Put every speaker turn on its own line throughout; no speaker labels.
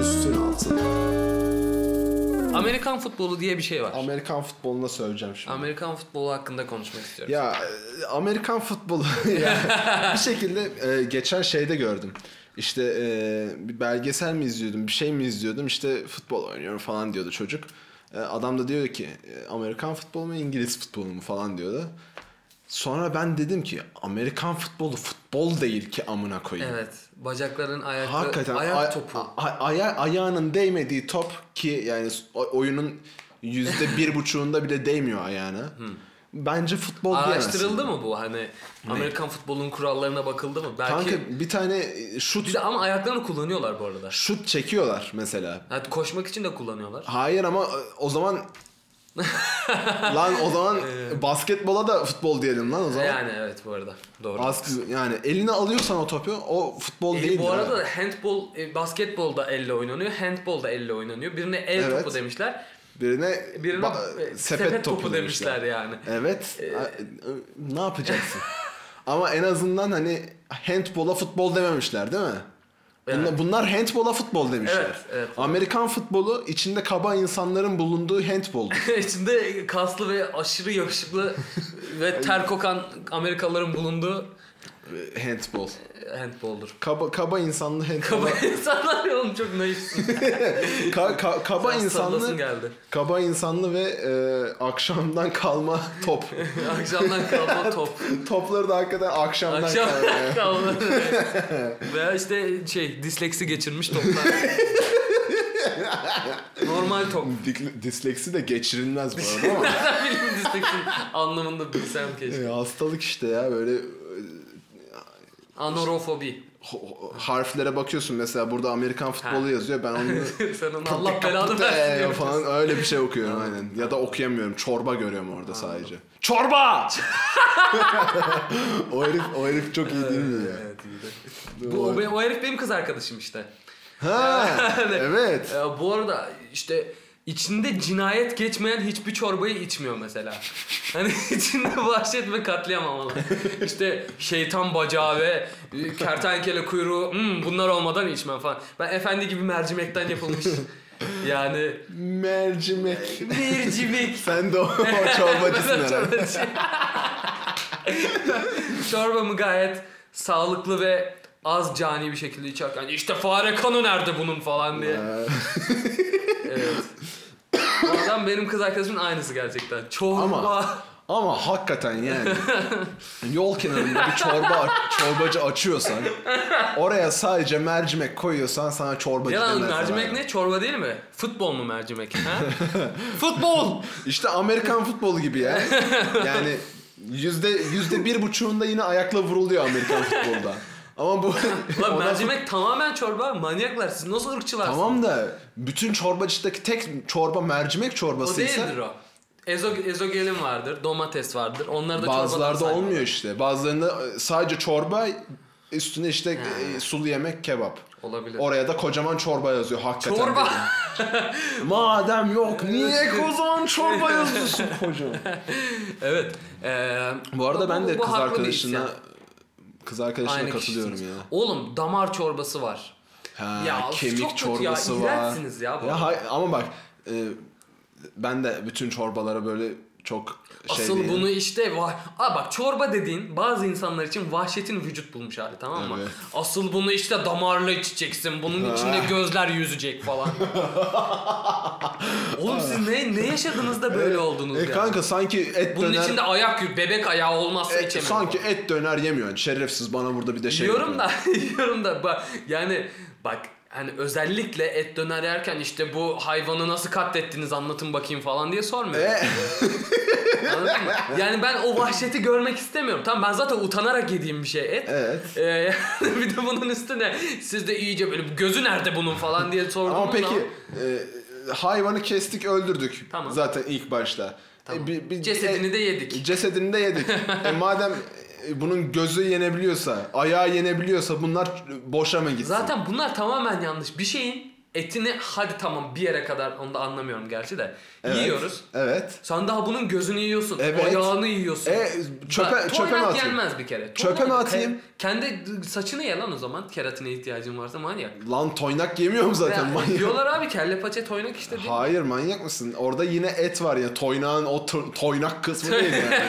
Üstün altın.
Amerikan futbolu diye bir şey var.
Amerikan futboluna söyleyeceğim şimdi.
Amerikan futbolu hakkında konuşmak istiyorum.
Ya e, Amerikan futbolu ya, bir şekilde e, geçen şeyde gördüm. İşte e, bir belgesel mi izliyordum, bir şey mi izliyordum? İşte futbol oynuyorum falan diyordu çocuk. E, adam da diyor ki e, Amerikan futbolu mu İngiliz futbolu mu falan diyordu. Sonra ben dedim ki Amerikan futbolu futbol değil ki amına koyayım.
Evet. Bacakların ayakta
Hakikaten
Ee, ayak
ay-
topu.
a- a- aya- ayağının değmediği top ki yani s- o- oyunun yüzde bir buçuğunda bile değmiyor ayağına. Bence futbol diyemezsin.
Hmm. Araştırıldı mı bu? Hani Amerikan futbolunun kurallarına bakıldı mı? Belki
Kanka bir tane e, şut
bir de ama ayaklarını kullanıyorlar bu arada.
şut çekiyorlar mesela.
Hatta koşmak için de kullanıyorlar.
Hayır ama e, o zaman lan o zaman
Ee.
basketbola da futbol diyelim lan o zaman.
Yani evet bu arada. Doğru.
Bas- yani eline alıyorsan o topu o futbol değil.
E, bu arada da handball, e, basketbol da elle oynanıyor, handball da elle oynanıyor. Birine el
Evet.
topu demişler,
birine,
birine
ba-
e, sepet, topu, demişler, yani.
Evet.
Ee,
A- e, ne yapacaksın? Ama en azından hani handbola futbol dememişler değil mi? Bunla-
Evet.
Bunlar handbola futbol demişler.
Evet, evet.
Amerikan futbolu içinde kaba insanların bulunduğu handboldu.
İçinde kaslı ve aşırı yakışıklı ve ter kokan Amerikalıların bulunduğu
Ee, Handbol.
handball'dur.
Kaba, kaba insanlı handbol.
Kaba insanlar ya oğlum çok naifsin.
Ka- ka- kaba
Biraz sallasın
insanlı.
geldi.
Kaba insanlı ve e, akşamdan kalma top.
Akşamdan kalma top.
Topları da hakikaten akşamdan
Akşam
kalma. ya.
kalma. Veya işte şey disleksi geçirmiş toplar. Normal top.
Dik- Disleksi de geçirilmez bu arada ama.
Nereden bileyim disleksi anlamında bilsem keşke.
E, hastalık işte ya böyle
Anorofobi.
ho- harflere bakıyorsun mesela burada Amerikan futbolu
Ha.
yazıyor ben onu
Sen onu Allah belanı versin
Eee
diyorum.
falan öyle bir şey okuyorum aynen ya da okuyamıyorum çorba görüyorum orada sadece çorba o herif o herif çok iyi değil mi ya
Evet, iyi de. Bu, o, be- o herif benim kız arkadaşım işte.
ha
Yani-
evet
Ee, bu arada işte içinde cinayet geçmeyen hiçbir çorbayı içmiyor mesela. Hani içinde vahşet ve katliam ama. İşte şeytan bacağı ve e, kertenkele kuyruğu "Hmm, bunlar olmadan içmem falan. Ben efendi gibi mercimekten yapılmış. Yani
mercimek
mercimek.
sen de o, o çorbacısın herhalde
Çorbamı gayet sağlıklı ve az cani bir şekilde içerken işte fare kanı nerede bunun falan diye.
Ha,
Evet. Bu adam benim kız arkadaşımın aynısı gerçekten. Çorba.
Ama- ama hakikaten yani yol kenarında bir çorba çorbacı açıyorsan oraya sadece mercimek koyuyorsan sana çorbacı
Ya lan
demezler
mercimek
abi.
ne? Çorba değil mi? Futbol mu mercimek? Ha? Futbol!
İşte Amerikan futbolu gibi ya. Yani yüzde yüzde bir buçuğunda yine ayakla vuruluyor Amerikan futbolda. Ama bu
Lan
ona-
mercimek tamamen çorba. Manyaklar siz nasıl ırkçılarsınız?
tamam da bütün çorbacıdaki tek çorba mercimek
O
çorbasıysa
değildir o. Ezo, ezogelin vardır, domates vardır. Onlar da
bazılarda
çorbadan
olmuyor işte. Bazılarında e, sadece çorba üstüne işte e, sulu yemek kebap.
Olabilir.
Oraya da kocaman çorba yazıyor hakikaten.
Çorba!
dedim. Madem yok niye kocaman çorba yazıyorsun kocaman?
evet. Ee,
Bu arada ben de
bu
kız
haklı bir
arkadaşına
isyan.
kız arkadaşına
Aynı
katılıyorum
kişisiniz.
ya.
Oğlum damar çorbası var.
Ha,
Ya of,
kemik
çok kötü ya,
çorbası var.
iğrençsiniz ya bu
ya
arada.
hay- ama bak e, ben de bütün çorbalara böyle çok şey
Asıl
değilim.
bunu işte vah... Aa bak çorba dediğin bazı insanlar için vahşetin vücut bulmuş hali tamam mı?
Evet.
Asıl bunu işte damarla içeceksin. Bunun içinde gözler yüzecek falan. Oğlum siz ne, ne yaşadınız da böyle oldunuz
E
ya?
kanka sanki et
Bunun
döner
içinde ayak yü- bebek ayağı olmazsa
et,
içemem.
sanki et döner yemiyorsun. Şerefsiz bana burada bir de şey
Diyorum
yapıyor.
da diyorum da bak yani bak hani özellikle et döner yerken işte bu hayvanı nasıl katlettiniz anlatın bakayım falan diye sormuyor.
E,
Anladın mı? Yani ben o vahşeti görmek istemiyorum. Tamam ben zaten utanarak yediğim bir şey et.
evet.
Ee, bir de bunun üstüne siz de iyice böyle gözü nerede bunun falan diye sordunuz
Ama peki
zaman
e, hayvanı kestik öldürdük
Tamam.
zaten ilk başta. E, bir- bir-
cesedini de yedik.
Cesedini de yedik. e, madem e, bunun gözü yenebiliyorsa, ayağı yenebiliyorsa bunlar boşa mı gitsin?
Zaten bunlar tamamen yanlış. Bir şeyin etini hadi tamam bir yere kadar onu da anlamıyorum gerçi de.
Evet.
Yiyoruz.
Evet.
Sen daha bunun gözünü yiyorsun.
Evet.
Ayağını yiyorsun.
E çöpe,
Bak,
çöpe mi
toynak
atayım?
yenmez bir kere.
Çöpe
Toynak-
mi atayım?
Kendi saçını ye lan o zaman. Keratine ihtiyacın varsa manyak.
Lan toynak yemiyorum zaten
Ya,
manyak.
Diyorlar abi kelle paça toynak işte. değil mi?
Hayır manyak mısın? Orada yine et var ya. Toynağın o to- toynak kısmı değil yani.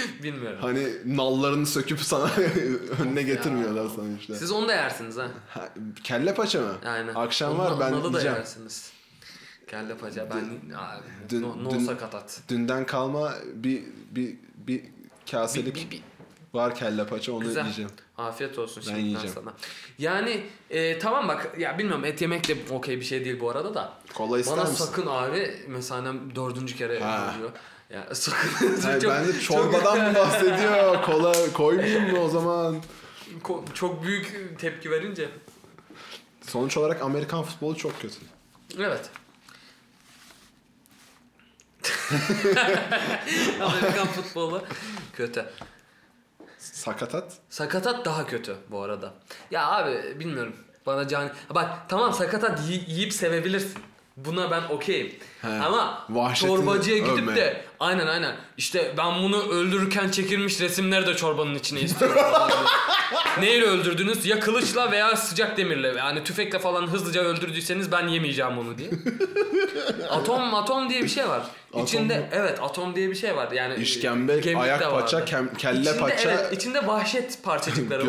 Bilmiyorum.
hani nallarını söküp sana önüne getirmiyorlar sana işte.
Siz onu da yersiniz ha.
Ha, kelle paça mı?
Aynen.
Akşam
Onu-
var ben
onu da
yiyeceğim.
yersiniz. Kelle paça ben abi,
dün-
no, no
dün-
sakatat.
Dünden kalma bir bir bir kaselik
Bir- bir-
var kelle paça onu
Güzel.
yiyeceğim.
Afiyet olsun
Ben
şimdiden
yiyeceğim.
sana. Yani e, tamam bak ya bilmiyorum et yemek de okey bir şey değil bu arada da.
Kola ister
Bana
misin?
sakın abi mesanem dördüncü kere
Ha.
oluyor. Ya sakın.
Hayır,
çok-
ben de çorbadan mı bahsediyor? Kola koymayayım mı o zaman?
Ko- çok büyük tepki verince.
Sonuç olarak Amerikan futbolu çok kötü.
Evet. Amerikan futbolu kötü.
Sakatat.
Sakatat daha kötü bu arada. Ya abi bilmiyorum. Bana can bak tamam sakatat yi- yiyip sevebilirsin. Buna ben okeyim.
He.
Ama
Vahşetini
çorbacıya gidip
övme.
de aynen aynen işte ben bunu öldürürken çekilmiş resimleri de çorbanın içine istiyorum. falan diyor. Neyle öldürdünüz? Ya kılıçla veya sıcak demirle. Yani tüfekle falan hızlıca öldürdüyseniz ben yemeyeceğim onu diye. atom atom diye bir şey var.
Atom
İçinde
mu?
evet atom diye bir şey var. Yani
İşkembe,
Gemlik
ayak
de
paça,
vardı.
kem- kelle
İçinde,
paça.
Evet, içinde vahşet parçacıkları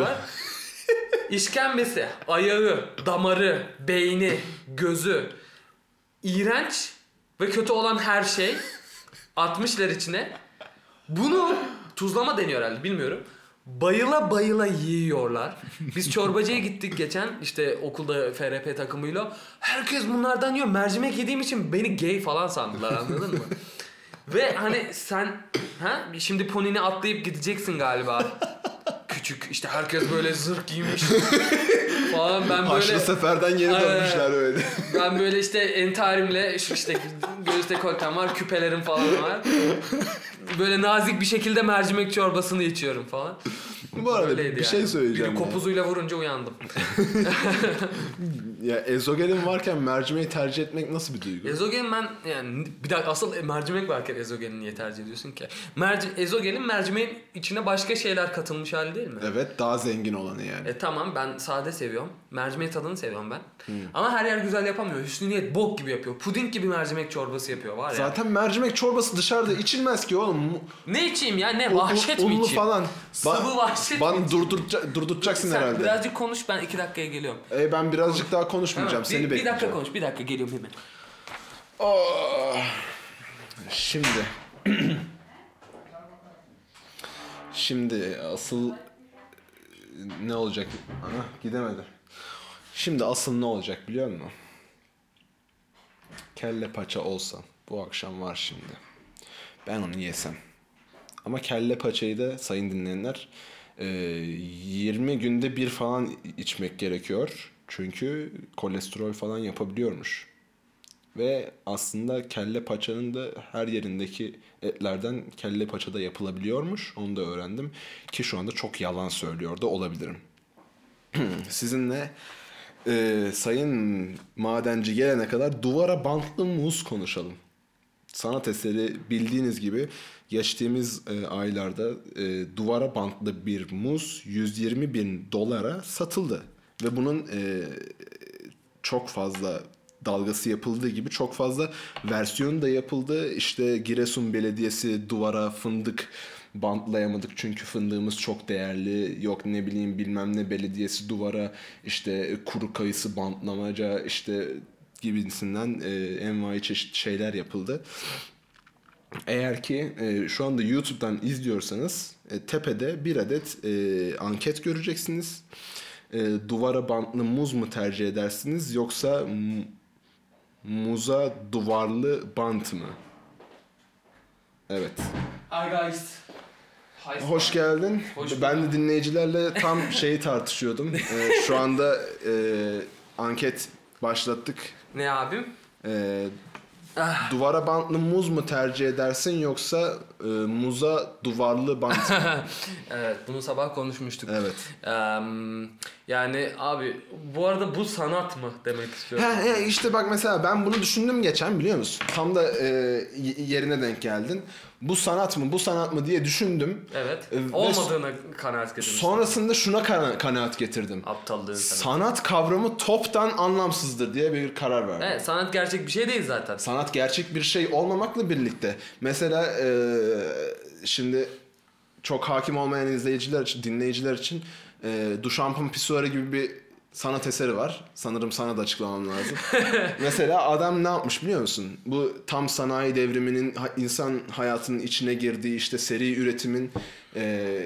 var. İşkembesi, ayağı, damarı, beyni, gözü. iğrenç ve kötü olan her şey atmışlar içine. Bunu tuzlama deniyor herhalde bilmiyorum. Bayıla bayıla yiyorlar. Biz çorbacıya gittik geçen işte okulda FRP takımıyla. Herkes bunlardan yiyor. Mercimek yediğim için beni gay falan sandılar anladın mı? Ve hani sen ha şimdi ponini atlayıp gideceksin galiba. Küçük işte herkes böyle zırh giymiş falan ben
Haçlı
böyle
seferden yeni
Ay,
dönmüşler öyle.
ben böyle işte entarimle şu işte göğüste koltem var, küpelerim falan var. Böyle nazik bir şekilde mercimek çorbasını içiyorum falan.
Bu arada
Öyleydi
bir
yani.
şey söyleyeceğim.
Biri
ya.
kopuzuyla vurunca uyandım.
Ya ezogelin varken mercimeği tercih etmek nasıl bir duygu?
Ezogelin ben yani bir dakika asıl mercimek varken ezogelini niye tercih ediyorsun ki? Merci, ezogelin mercimeğin içine başka şeyler katılmış hali değil mi?
Evet daha zengin olanı yani.
E tamam ben sade seviyorum. Mercimeği tadını seviyorum ben.
Hmm.
Ama her yer güzel yapamıyor. Hüsnü Niyet bok gibi yapıyor. Puding gibi mercimek çorbası yapıyor var ya.
Zaten mercimek çorbası dışarıda içilmez ki oğlum. Mu-
Ne içeyim ya ne
un-
vahşet mi
unlu
içeyim?
falan. Ba-
Sıvı vahşet mi
Bana durdurca- durduracaksın
Sen
herhalde.
birazcık konuş ben iki dakikaya geliyorum.
E, ben birazcık daha konuşmayacağım.
Tamam,
Seni
bir, bir dakika
bekleyeceğim.
konuş bir dakika geliyorum hemen.
Oh. Şimdi. Şimdi asıl ne olacak? Ana gidemedi. Şimdi asıl ne olacak biliyor musun? Kelle paça olsa. Bu akşam var şimdi. Ben onu yesem. Ama kelle paçayı da sayın dinleyenler e, 20 günde bir falan içmek gerekiyor. Çünkü kolesterol falan yapabiliyormuş. Ve aslında kelle paçanın da her yerindeki etlerden kelle paça da yapılabiliyormuş. Onu da öğrendim. Ki şu anda çok yalan söylüyor da olabilirim. Sizinle e, sayın madenci gelene kadar duvara bantlı muz konuşalım. Sanat eseri bildiğiniz gibi geçtiğimiz e, aylarda e, duvara bantlı bir muz 120 bin dolara satıldı. Ve bunun e, çok fazla dalgası yapıldığı gibi çok fazla versiyonu da yapıldı. İşte Giresun Belediyesi duvara fındık bantlayamadık çünkü fındığımız çok değerli. Yok ne bileyim bilmem ne belediyesi duvara işte kuru kayısı bantlamaca işte gibisinden e, envai çeşit şeyler yapıldı. Eğer ki e, şu anda YouTube'dan izliyorsanız e, tepede bir adet e, anket göreceksiniz. E, duvara bantlı muz mu tercih edersiniz yoksa mu- muza duvarlı bant mı? Evet.
Hi guys. Hi
Hoş geldin.
Hoş bulduk.
ben de dinleyicilerle tam şeyi tartışıyordum. E, şu anda e, anket başlattık.
Ne abim? Ah.
E, duvara bantlı muz mu tercih edersin yoksa e, muza duvarlı bant.
Evet bunu sabah konuşmuştuk.
evet.
Em, yani abi bu arada bu sanat mı demek istiyorum.
Ha, he, işte bak mesela ben bunu düşündüm geçen biliyor musun? Tam da e, y- yerine denk geldin. Bu sanat mı bu sanat mı diye düşündüm.
Evet.
Ve
Olmadığını kanaat getirmiş.
Sonrasında şuna kana- kanaat getirdim.
Aptallığın sanat.
Sanat kavramı toptan anlamsızdır diye bir karar verdim.
Evet sanat gerçek bir şey değil zaten.
Sanat gerçek bir şey olmamakla birlikte. Mesela e, şimdi çok hakim olmayan izleyiciler için, dinleyiciler için e, Duchamp'ın Pisuarı gibi bir sanat eseri var. Sanırım sana da açıklamam lazım. Mesela adam ne yapmış biliyor musun? Bu tam sanayi devriminin ha- insan hayatının içine girdiği işte seri üretimin e,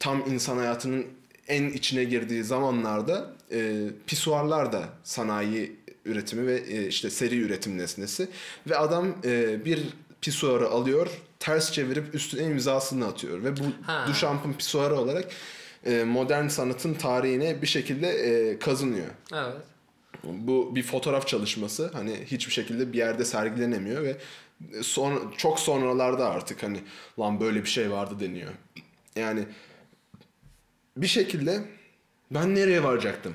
tam insan hayatının en içine girdiği zamanlarda e, pisuarlar da sanayi üretimi ve e, işte seri üretim nesnesi ve adam e, bir pisuarı alıyor ters çevirip üstüne imzasını atıyor ve bu
Ha.
Duchamp'ın pisuarı olarak e, modern sanatın tarihine bir şekilde e, kazınıyor.
Evet.
Bu bir fotoğraf çalışması hani hiçbir şekilde bir yerde sergilenemiyor ve son, çok sonralarda artık hani lan böyle bir şey vardı deniyor. Yani bir şekilde ben nereye varacaktım?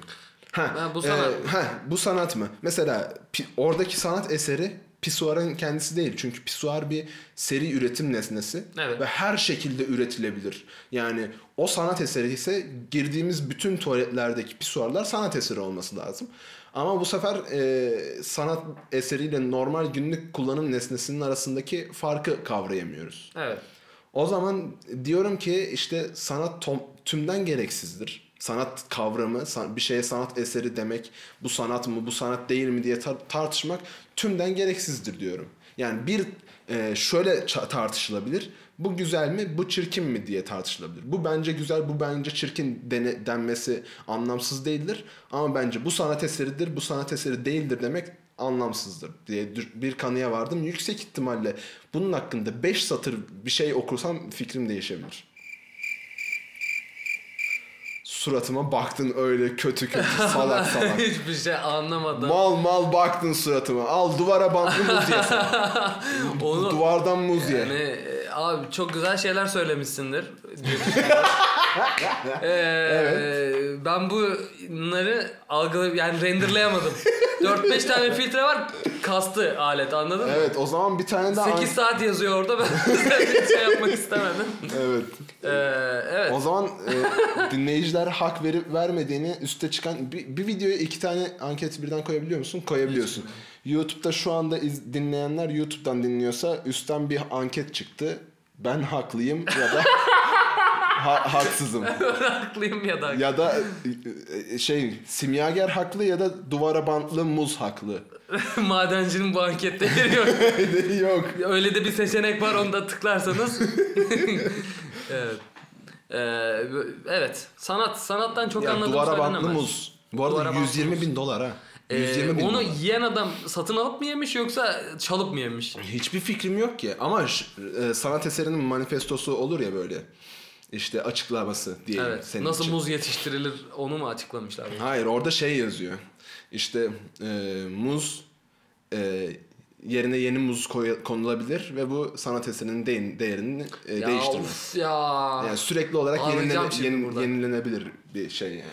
Ha, e,
Ha, bu sanat.
ha, bu sanat mı? Mesela pi- oradaki sanat eseri pisuarın kendisi değil. Çünkü pisuar bir seri üretim nesnesi
Evet.
ve her şekilde üretilebilir. Yani o sanat eseri ise girdiğimiz bütün tuvaletlerdeki pisuarlar sanat eseri olması lazım. Ama bu sefer e, sanat eseriyle normal günlük kullanım nesnesinin arasındaki farkı kavrayamıyoruz.
Evet.
O zaman diyorum ki işte sanat tom- tümden gereksizdir. Sanat kavramı, san- bir şeye sanat eseri demek, bu sanat mı, bu sanat değil mi diye tar- tartışmak tümden gereksizdir diyorum. Yani bir e, şöyle ça- tartışılabilir. Bu güzel mi, bu çirkin mi diye tartışılabilir. Bu bence güzel, bu bence çirkin dene- denmesi anlamsız değildir. Ama bence bu sanat eseridir, bu sanat eseri değildir demek anlamsızdır diye dür- bir kanıya vardım. Yüksek ihtimalle bunun hakkında 5 satır bir şey okursam fikrim değişebilir. Suratıma baktın öyle kötü kötü salak salak.
Hiçbir şey anlamadan.
mal mal baktın suratıma. Al duvara bantlı muz ye sen.
Onu
Duvardan muz
Yani
ye.
e, abi çok güzel şeyler söylemişsindir. diye düşünüyorum. ee, Ben bunları algılayıp yani renderlayamadım. 4-5 tane filtre var kastı alet anladın mı?
Evet o zaman bir tane daha...
8 saat yazıyor orada ben bir şey yapmak istemedim.
Evet.
Ee, evet.
O zaman e, dinleyiciler hak verip vermediğini üste çıkan bir, bir videoya iki tane anket birden koyabiliyor musun? Koyabiliyorsun. YouTube'da şu anda iz, dinleyenler YouTube'dan dinliyorsa üstten bir anket çıktı. Ben haklıyım ya da ha- haksızım.
Haklıyım ya da.
Ya da e, e, şey simyager haklı ya da duvara bantlı muz haklı.
Madencinin bu ankette yeri yok.
Yok.
Öyle de bir seçenek var onu da tıklarsanız. evet. Ee, evet. Sanat. Sanattan çok
Ya,
anladığım
duvara
söylenemez.
bantlı muz. Bu arada
Duvara bantlı
120 bin dolar ha.
Ee,
120 bin
onu
dolar.
yiyen adam satın alıp mı yemiş yoksa çalıp mı yemiş?
Hiçbir fikrim yok ki ama ş- e, sanat eserinin manifestosu olur ya böyle işte açıklaması diye
Evet.
senin
Nasıl
için.
muz yetiştirilir onu mu açıklamışlar?
Hayır orada şey yazıyor işte e, muz e, yerine yeni muz koy- konulabilir ve bu sanat eserinin de- değerini e,
ya
değiştirmez.
of ya.
Yani sürekli olarak
Ağlayacağım
yenilene-
şimdi
yeni-
buradan.
yenilenebilir bir şey yani.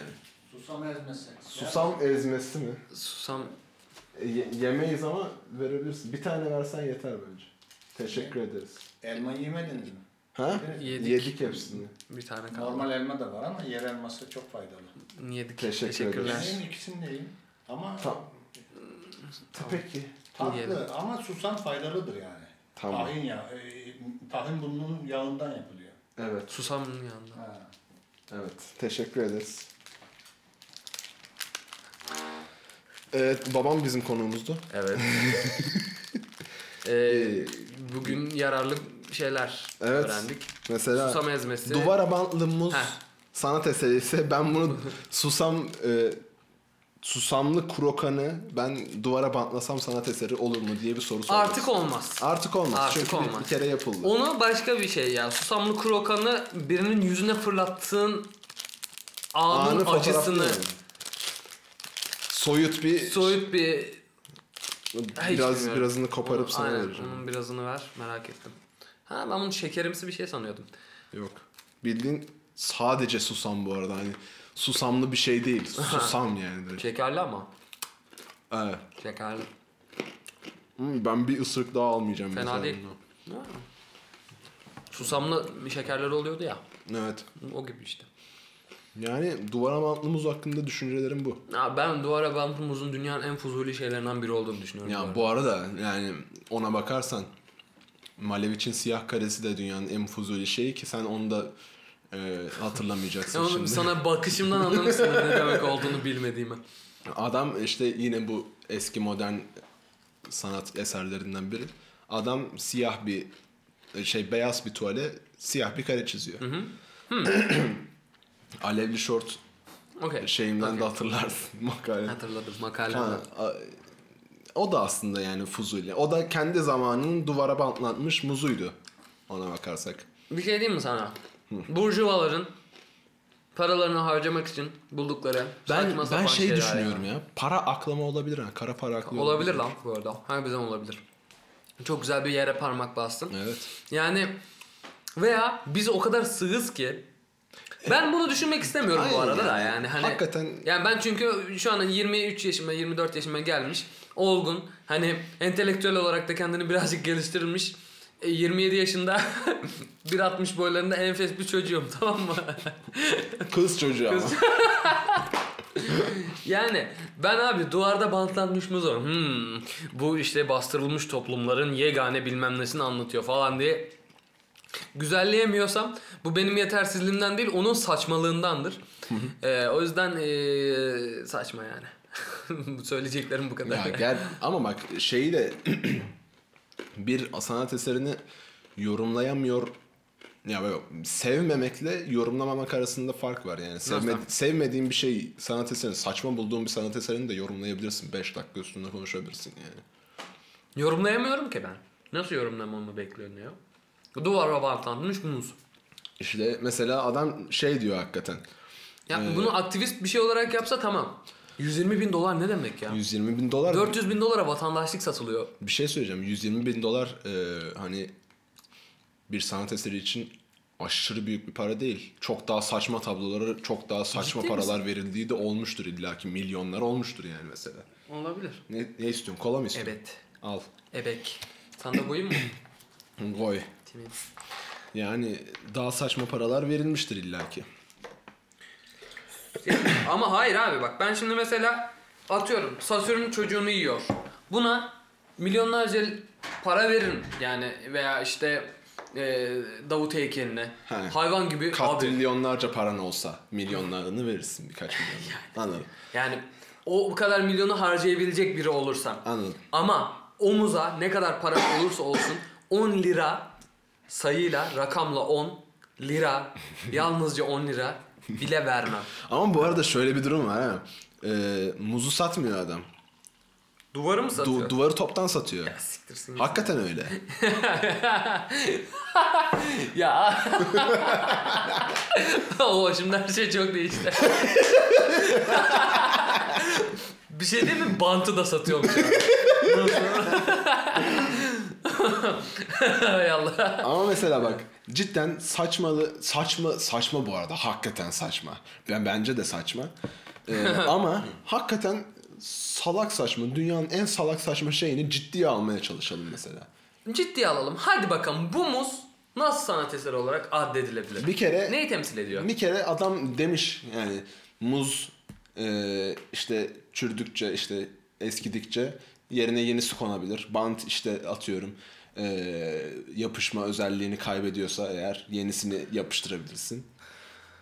Susam ezmesi.
Susam ezmesi mi? E,
Susam.
yemeyiz ama verebilirsin. Bir tane versen yeter bence. Teşekkür
Teşekkür
ederiz.
Elma yemediniz mi?
Ha?
Yedik.
Yedik hepsini.
Bir tane kaldı.
Normal elma da var ama yer elması çok faydalı.
Yedik.
Teşekkür
Teşekkürler.
ederiz.
Ben ikisini de yiyeyim. Ama
Tam. Peki.
tatlı
Yiyelim.
ama susam faydalıdır yani.
Tamam.
Tahin ya, e, tahin bunun yağından yapılıyor.
Evet.
Susamın yanında.
Ha.
Evet. Teşekkür ederiz. Evet, babam bizim konuğumuzdu.
Evet. Ee, bugün yararlı şeyler
Evet. Ee,
öğrendik.
Mesela
Susam ezmesi.
duvara bantlı muz
Heh.
sanat eseri ise ben bunu susam e, susamlı krokanı ben duvara bantlasam sanat eseri olur mu diye bir soru sordum.
Artık olmaz.
Artık olmaz.
Artık
Çünkü bir-
olmaz.
bir kere yapıldı.
Onu başka bir şey ya. Susamlı krokanı birinin yüzüne fırlattığın anın
Anı
acısını
fotoğraflı yani. Soyut bir
soyut bir Hiç
biraz
bilmiyorum.
birazını koparıp
Onu-
sana
aynen,
vereceğim.
Onun birazını ver merak ettim. Ha ben bunu şekerimsi bir şey sanıyordum.
Yok. Bildiğin sadece susam bu arada. Hani susamlı bir şey değil. Susam yani. direkt.
Şekerli ama.
Evet.
Şekerli.
Hmm, Ben bir ısırık daha almayacağım.
Fena
mesela
değil.
bundan.
Ha. Susamlı şekerler oluyordu ya.
Evet.
O gibi işte.
Yani duvara bantlı muz hakkında düşüncelerim bu.
Ha, ben duvara bantlı muzun dünyanın en fuzuli şeylerinden biri olduğunu düşünüyorum. bu
Ya
arada.
bu arada yani ona bakarsan Malevich'in siyah karesi de dünyanın en fuzuli şeyi ki sen onu da e, hatırlamayacaksın
Ya oğlum,
şimdi.
sana bakışımdan anlamışsın ne demek olduğunu bilmediğimi.
Adam işte yine bu eski modern sanat eserlerinden biri. Adam siyah bir şey beyaz bir tuvale siyah bir kare çiziyor. Hmm. Alevli şort
Okey.
şeyimden de
okey.
hatırlarsın makale.
Hatırladım makale.
Ha, a- o da aslında yani fuzuli. O da kendi zamanının duvara bantlanmış muzuydu. Ona bakarsak.
Bir şey diyeyim mi sana? Burjuvaların paralarını harcamak için buldukları
Ben
saçma sapan
ben şey
şeyler
düşünüyorum ya. Para aklama olabilir ha. Kara para
yani.
aklama.
Olabilir lan bu arada. Harbiden olabilir. Çok güzel bir yere parmak bastın.
Evet.
Yani veya biz o kadar sığız ki ben bunu düşünmek istemiyorum bu
Aynen
arada da
yani.
yani hani
Hakikaten-
yani ben çünkü şu an 23 yaşıma 24 yaşıma gelmiş olgun hani entelektüel olarak da kendini birazcık geliştirmiş e, 27 yaşında 1.60 boylarında enfes bir çocuğum tamam mı?
Kız çocuğu ama.
Yani ben abi duvarda bantlanmış mı zor? Hmm, bu işte bastırılmış toplumların yegane bilmem nesini anlatıyor falan diye güzelleyemiyorsam bu benim yetersizliğimden değil onun saçmalığındandır. Ee, o yüzden ee, saçma yani. Bu Söyleyeceklerim bu kadar.
Ya gel ama bak şeyi de bir sanat eserini yorumlayamıyor ya böyle sevmemekle yorumlamamak arasında fark var yani. Sevme,
Nasıl?
sevmediğin bir şey sanat eserini saçma bulduğun bir sanat eserini de yorumlayabilirsin. 5 dakika üstünde konuşabilirsin yani.
Yorumlayamıyorum ki ben. Nasıl yorumlamamı bekleniyor? Duvara bantlanmış muz.
İşte mesela adam şey diyor hakikaten.
Ya
Ee,
bunu aktivist bir şey olarak yapsa tamam. 120 bin dolar ne demek ya?
120 bin dolar
400 bin dolara vatandaşlık satılıyor.
bir şey söyleyeceğim. 120 bin dolar e, hani bir sanat eseri için aşırı büyük bir para değil. Çok daha saçma tablolara çok daha saçma
Ciddi
paralar verildiği de olmuştur illaki milyonlar olmuştur yani mesela.
Olabilir.
Ne, ne istiyorsun? Kola mı istiyorsun?
Evet.
Al.
Ebek. Sana da koyayım mı?
Koy.
Timim.
Yani daha saçma paralar verilmiştir illaki.
Ama hayır abi bak ben şimdi mesela atıyorum Satürn çocuğunu yiyor. Buna milyonlarca para verin yani veya işte e, Davut heykeline.
He.
Hayvan gibi abi.
Katrilyonlarca paran olsa milyonlarını verirsin birkaç milyon. Anladım.
Yani o bu kadar milyonu harcayabilecek biri olursan.
Anladım.
Ama omuza ne kadar para olursa olsun 10 lira sayıyla rakamla 10 lira yalnızca 10 lira bile vermem.
Ama bu arada şöyle bir durum var ha. Ee, muzu satmıyor adam.
Duvarı mı satıyor?
Du- duvarı toptan satıyor.
Ya Siktirsin ya.
Hakikaten öyle.
ya. Oo şimdi her şey çok değişti. bir şey değil mi? Bantı da satıyormuş. Hay Allah.
Ama mesela bak cidden saçmalı saçma saçma bu arada hakikaten saçma. Ben bence de saçma. Ee, ama hakikaten salak saçma dünyanın en salak saçma şeyini ciddiye almaya çalışalım mesela.
Ciddiye alalım. Hadi bakalım bu muz nasıl sanat eseri olarak addedilebilir?
Bir kere
Neyi temsil ediyor?
bir kere adam demiş yani muz e, işte çürdükçe işte eskidikçe yerine yenisi konabilir. Bant işte atıyorum e, yapışma özelliğini kaybediyorsa eğer yenisini yapıştırabilirsin.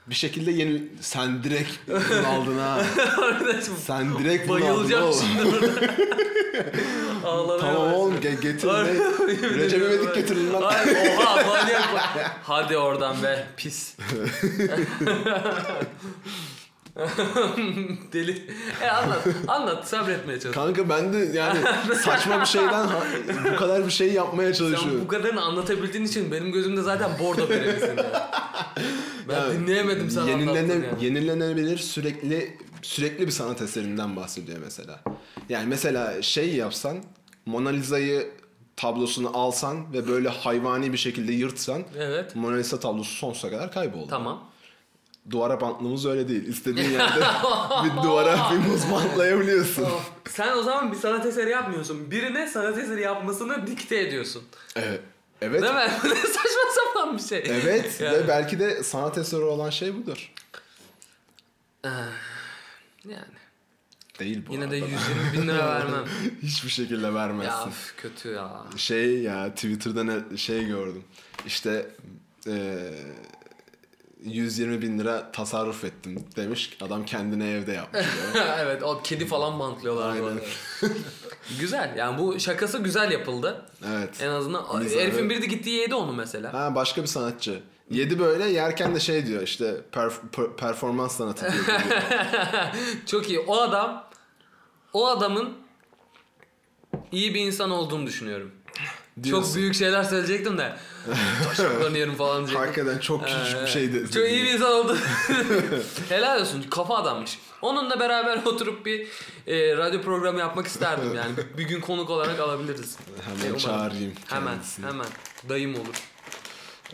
Bir şekilde yeni sen direkt bunu aldın ha. Sen direkt bunu aldın
Bayılacağım
oğlum.
şimdi burada. Ağlamaya
Tamam
başladım.
oğlum ge- getir.
Harbi,
Re- Recep İvedik getirin lan.
Ay, oha manyak bak. Hadi oradan be pis. Deli. E anlat. Anlat sabretmeye çalış.
Kanka ben de yani saçma bir şeyden ha- bu kadar bir şey yapmaya
Sen
çalışıyorum.
bu kadarını anlatabildiğin için benim gözümde zaten bordo perisin. ya. Ben
Yani
dinleyemedim sana
yenilene-
anlattığını yani.
Yenilenebilir sürekli sürekli bir sanat eserinden bahsediyor mesela. Yani mesela şey yapsan Mona Lisa'yı tablosunu alsan ve böyle hayvani bir şekilde yırtsan
Evet.
Mona Lisa tablosu sonsuza kadar kayboldu.
Tamam.
Duvara bantlığımız öyle değil. İstediğin yerde bir duvara bir muz bantlayabiliyorsun.
Sen o zaman bir sanat eseri yapmıyorsun. Birine sanat eseri yapmasını dikte ediyorsun.
Evet. E, Evet.
Değil mi? Bu ne saçma sapan bir şey.
Evet
Yani-
ve belki de sanat eseri olan şey budur.
Ah, Yani.
Değil bu
Yine de
arada.
120 bin lira vermem.
Hiçbir şekilde
ya
vermezsin.
üf, kötü ya.
Şey ya Twitter'da ne, şey gördüm. İşte eee 120 bin lira tasarruf ettim demiş. Adam kendine evde yapmış.
evet o kedi falan bantlıyorlar bu
Aynen.
arada. güzel yani bu şakası güzel yapıldı.
Evet.
En azından
Güzel,
herifin
evet.
biri de gitti yedi onu mesela.
Ha başka bir sanatçı. Yedi böyle yerken de şey diyor işte perf- per- performans sanatı diyor.
Çok iyi. O adam o adamın iyi bir insan olduğunu düşünüyorum. Çok
Diyorsun.
büyük şeyler söyleyecektim de. Taşaklanıyorum falan diyecektim.
Hakikaten çok küçük bir
Ee,
şey de.
Çok iyi bir insan oldu. Helal olsun. Kafa adammış. Onunla beraber oturup bir e, radyo programı yapmak isterdim yani. Bir, bir gün konuk olarak alabiliriz. E,
Hemen
umarım.
çağırayım.
Hemen,
kendisini.
hemen. Dayım olur.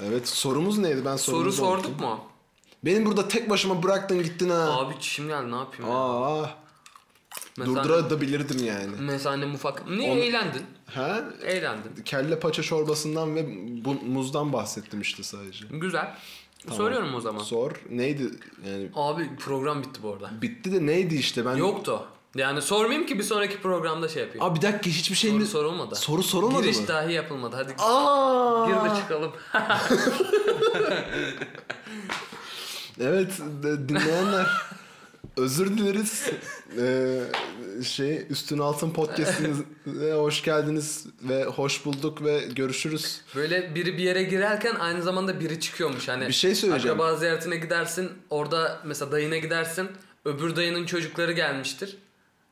Evet sorumuz neydi ben
Soru
sorumuzu unuttum.
sorduk mu?
Benim burada tek başıma bıraktın gittin ha.
Abi çişim geldi ne yapayım? ya?
Aa,
Mesela-
durdurabilirdim yani.
Mesela annem ufak. Niye
Onu-
eğlendin?
Ha?
Eğlendin.
Kelle paça çorbasından ve bu, muzdan bahsettim işte sadece.
Güzel.
Tamam.
Soruyorum o zaman.
Sor. Neydi? Yani
Abi program bitti bu arada.
bitti de neydi işte ben.
Yoktu. Yani sormayayım ki bir sonraki programda şey yapayım.
Aa bir dakika hiçbir şey
soru
mi?
sorulmadı.
Soru sorulmadı
Giriş
mı?
dahi yapılmadı. Hadi
Aa!
gir de çıkalım.
Evet de- dinleyenler. Özür dileriz. Ee, şey Üstün Altın Podcast'inize hoş geldiniz ve hoş bulduk ve görüşürüz.
Böyle biri bir yere girerken aynı zamanda biri çıkıyormuş. Hani
Bir şey söyleyeceğim.
Akraba ziyaretine gidersin. Orada mesela dayına gidersin. Öbür dayının çocukları gelmiştir.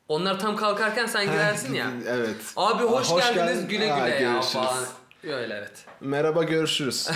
Onlar tam kalkarken sen girersin ya.
Evet.
Abi hoş,
Hoş
geldiniz
geldin.
güle
Ha,
güle ya
görüşürüz.
falan. Öyle evet.
Merhaba görüşürüz.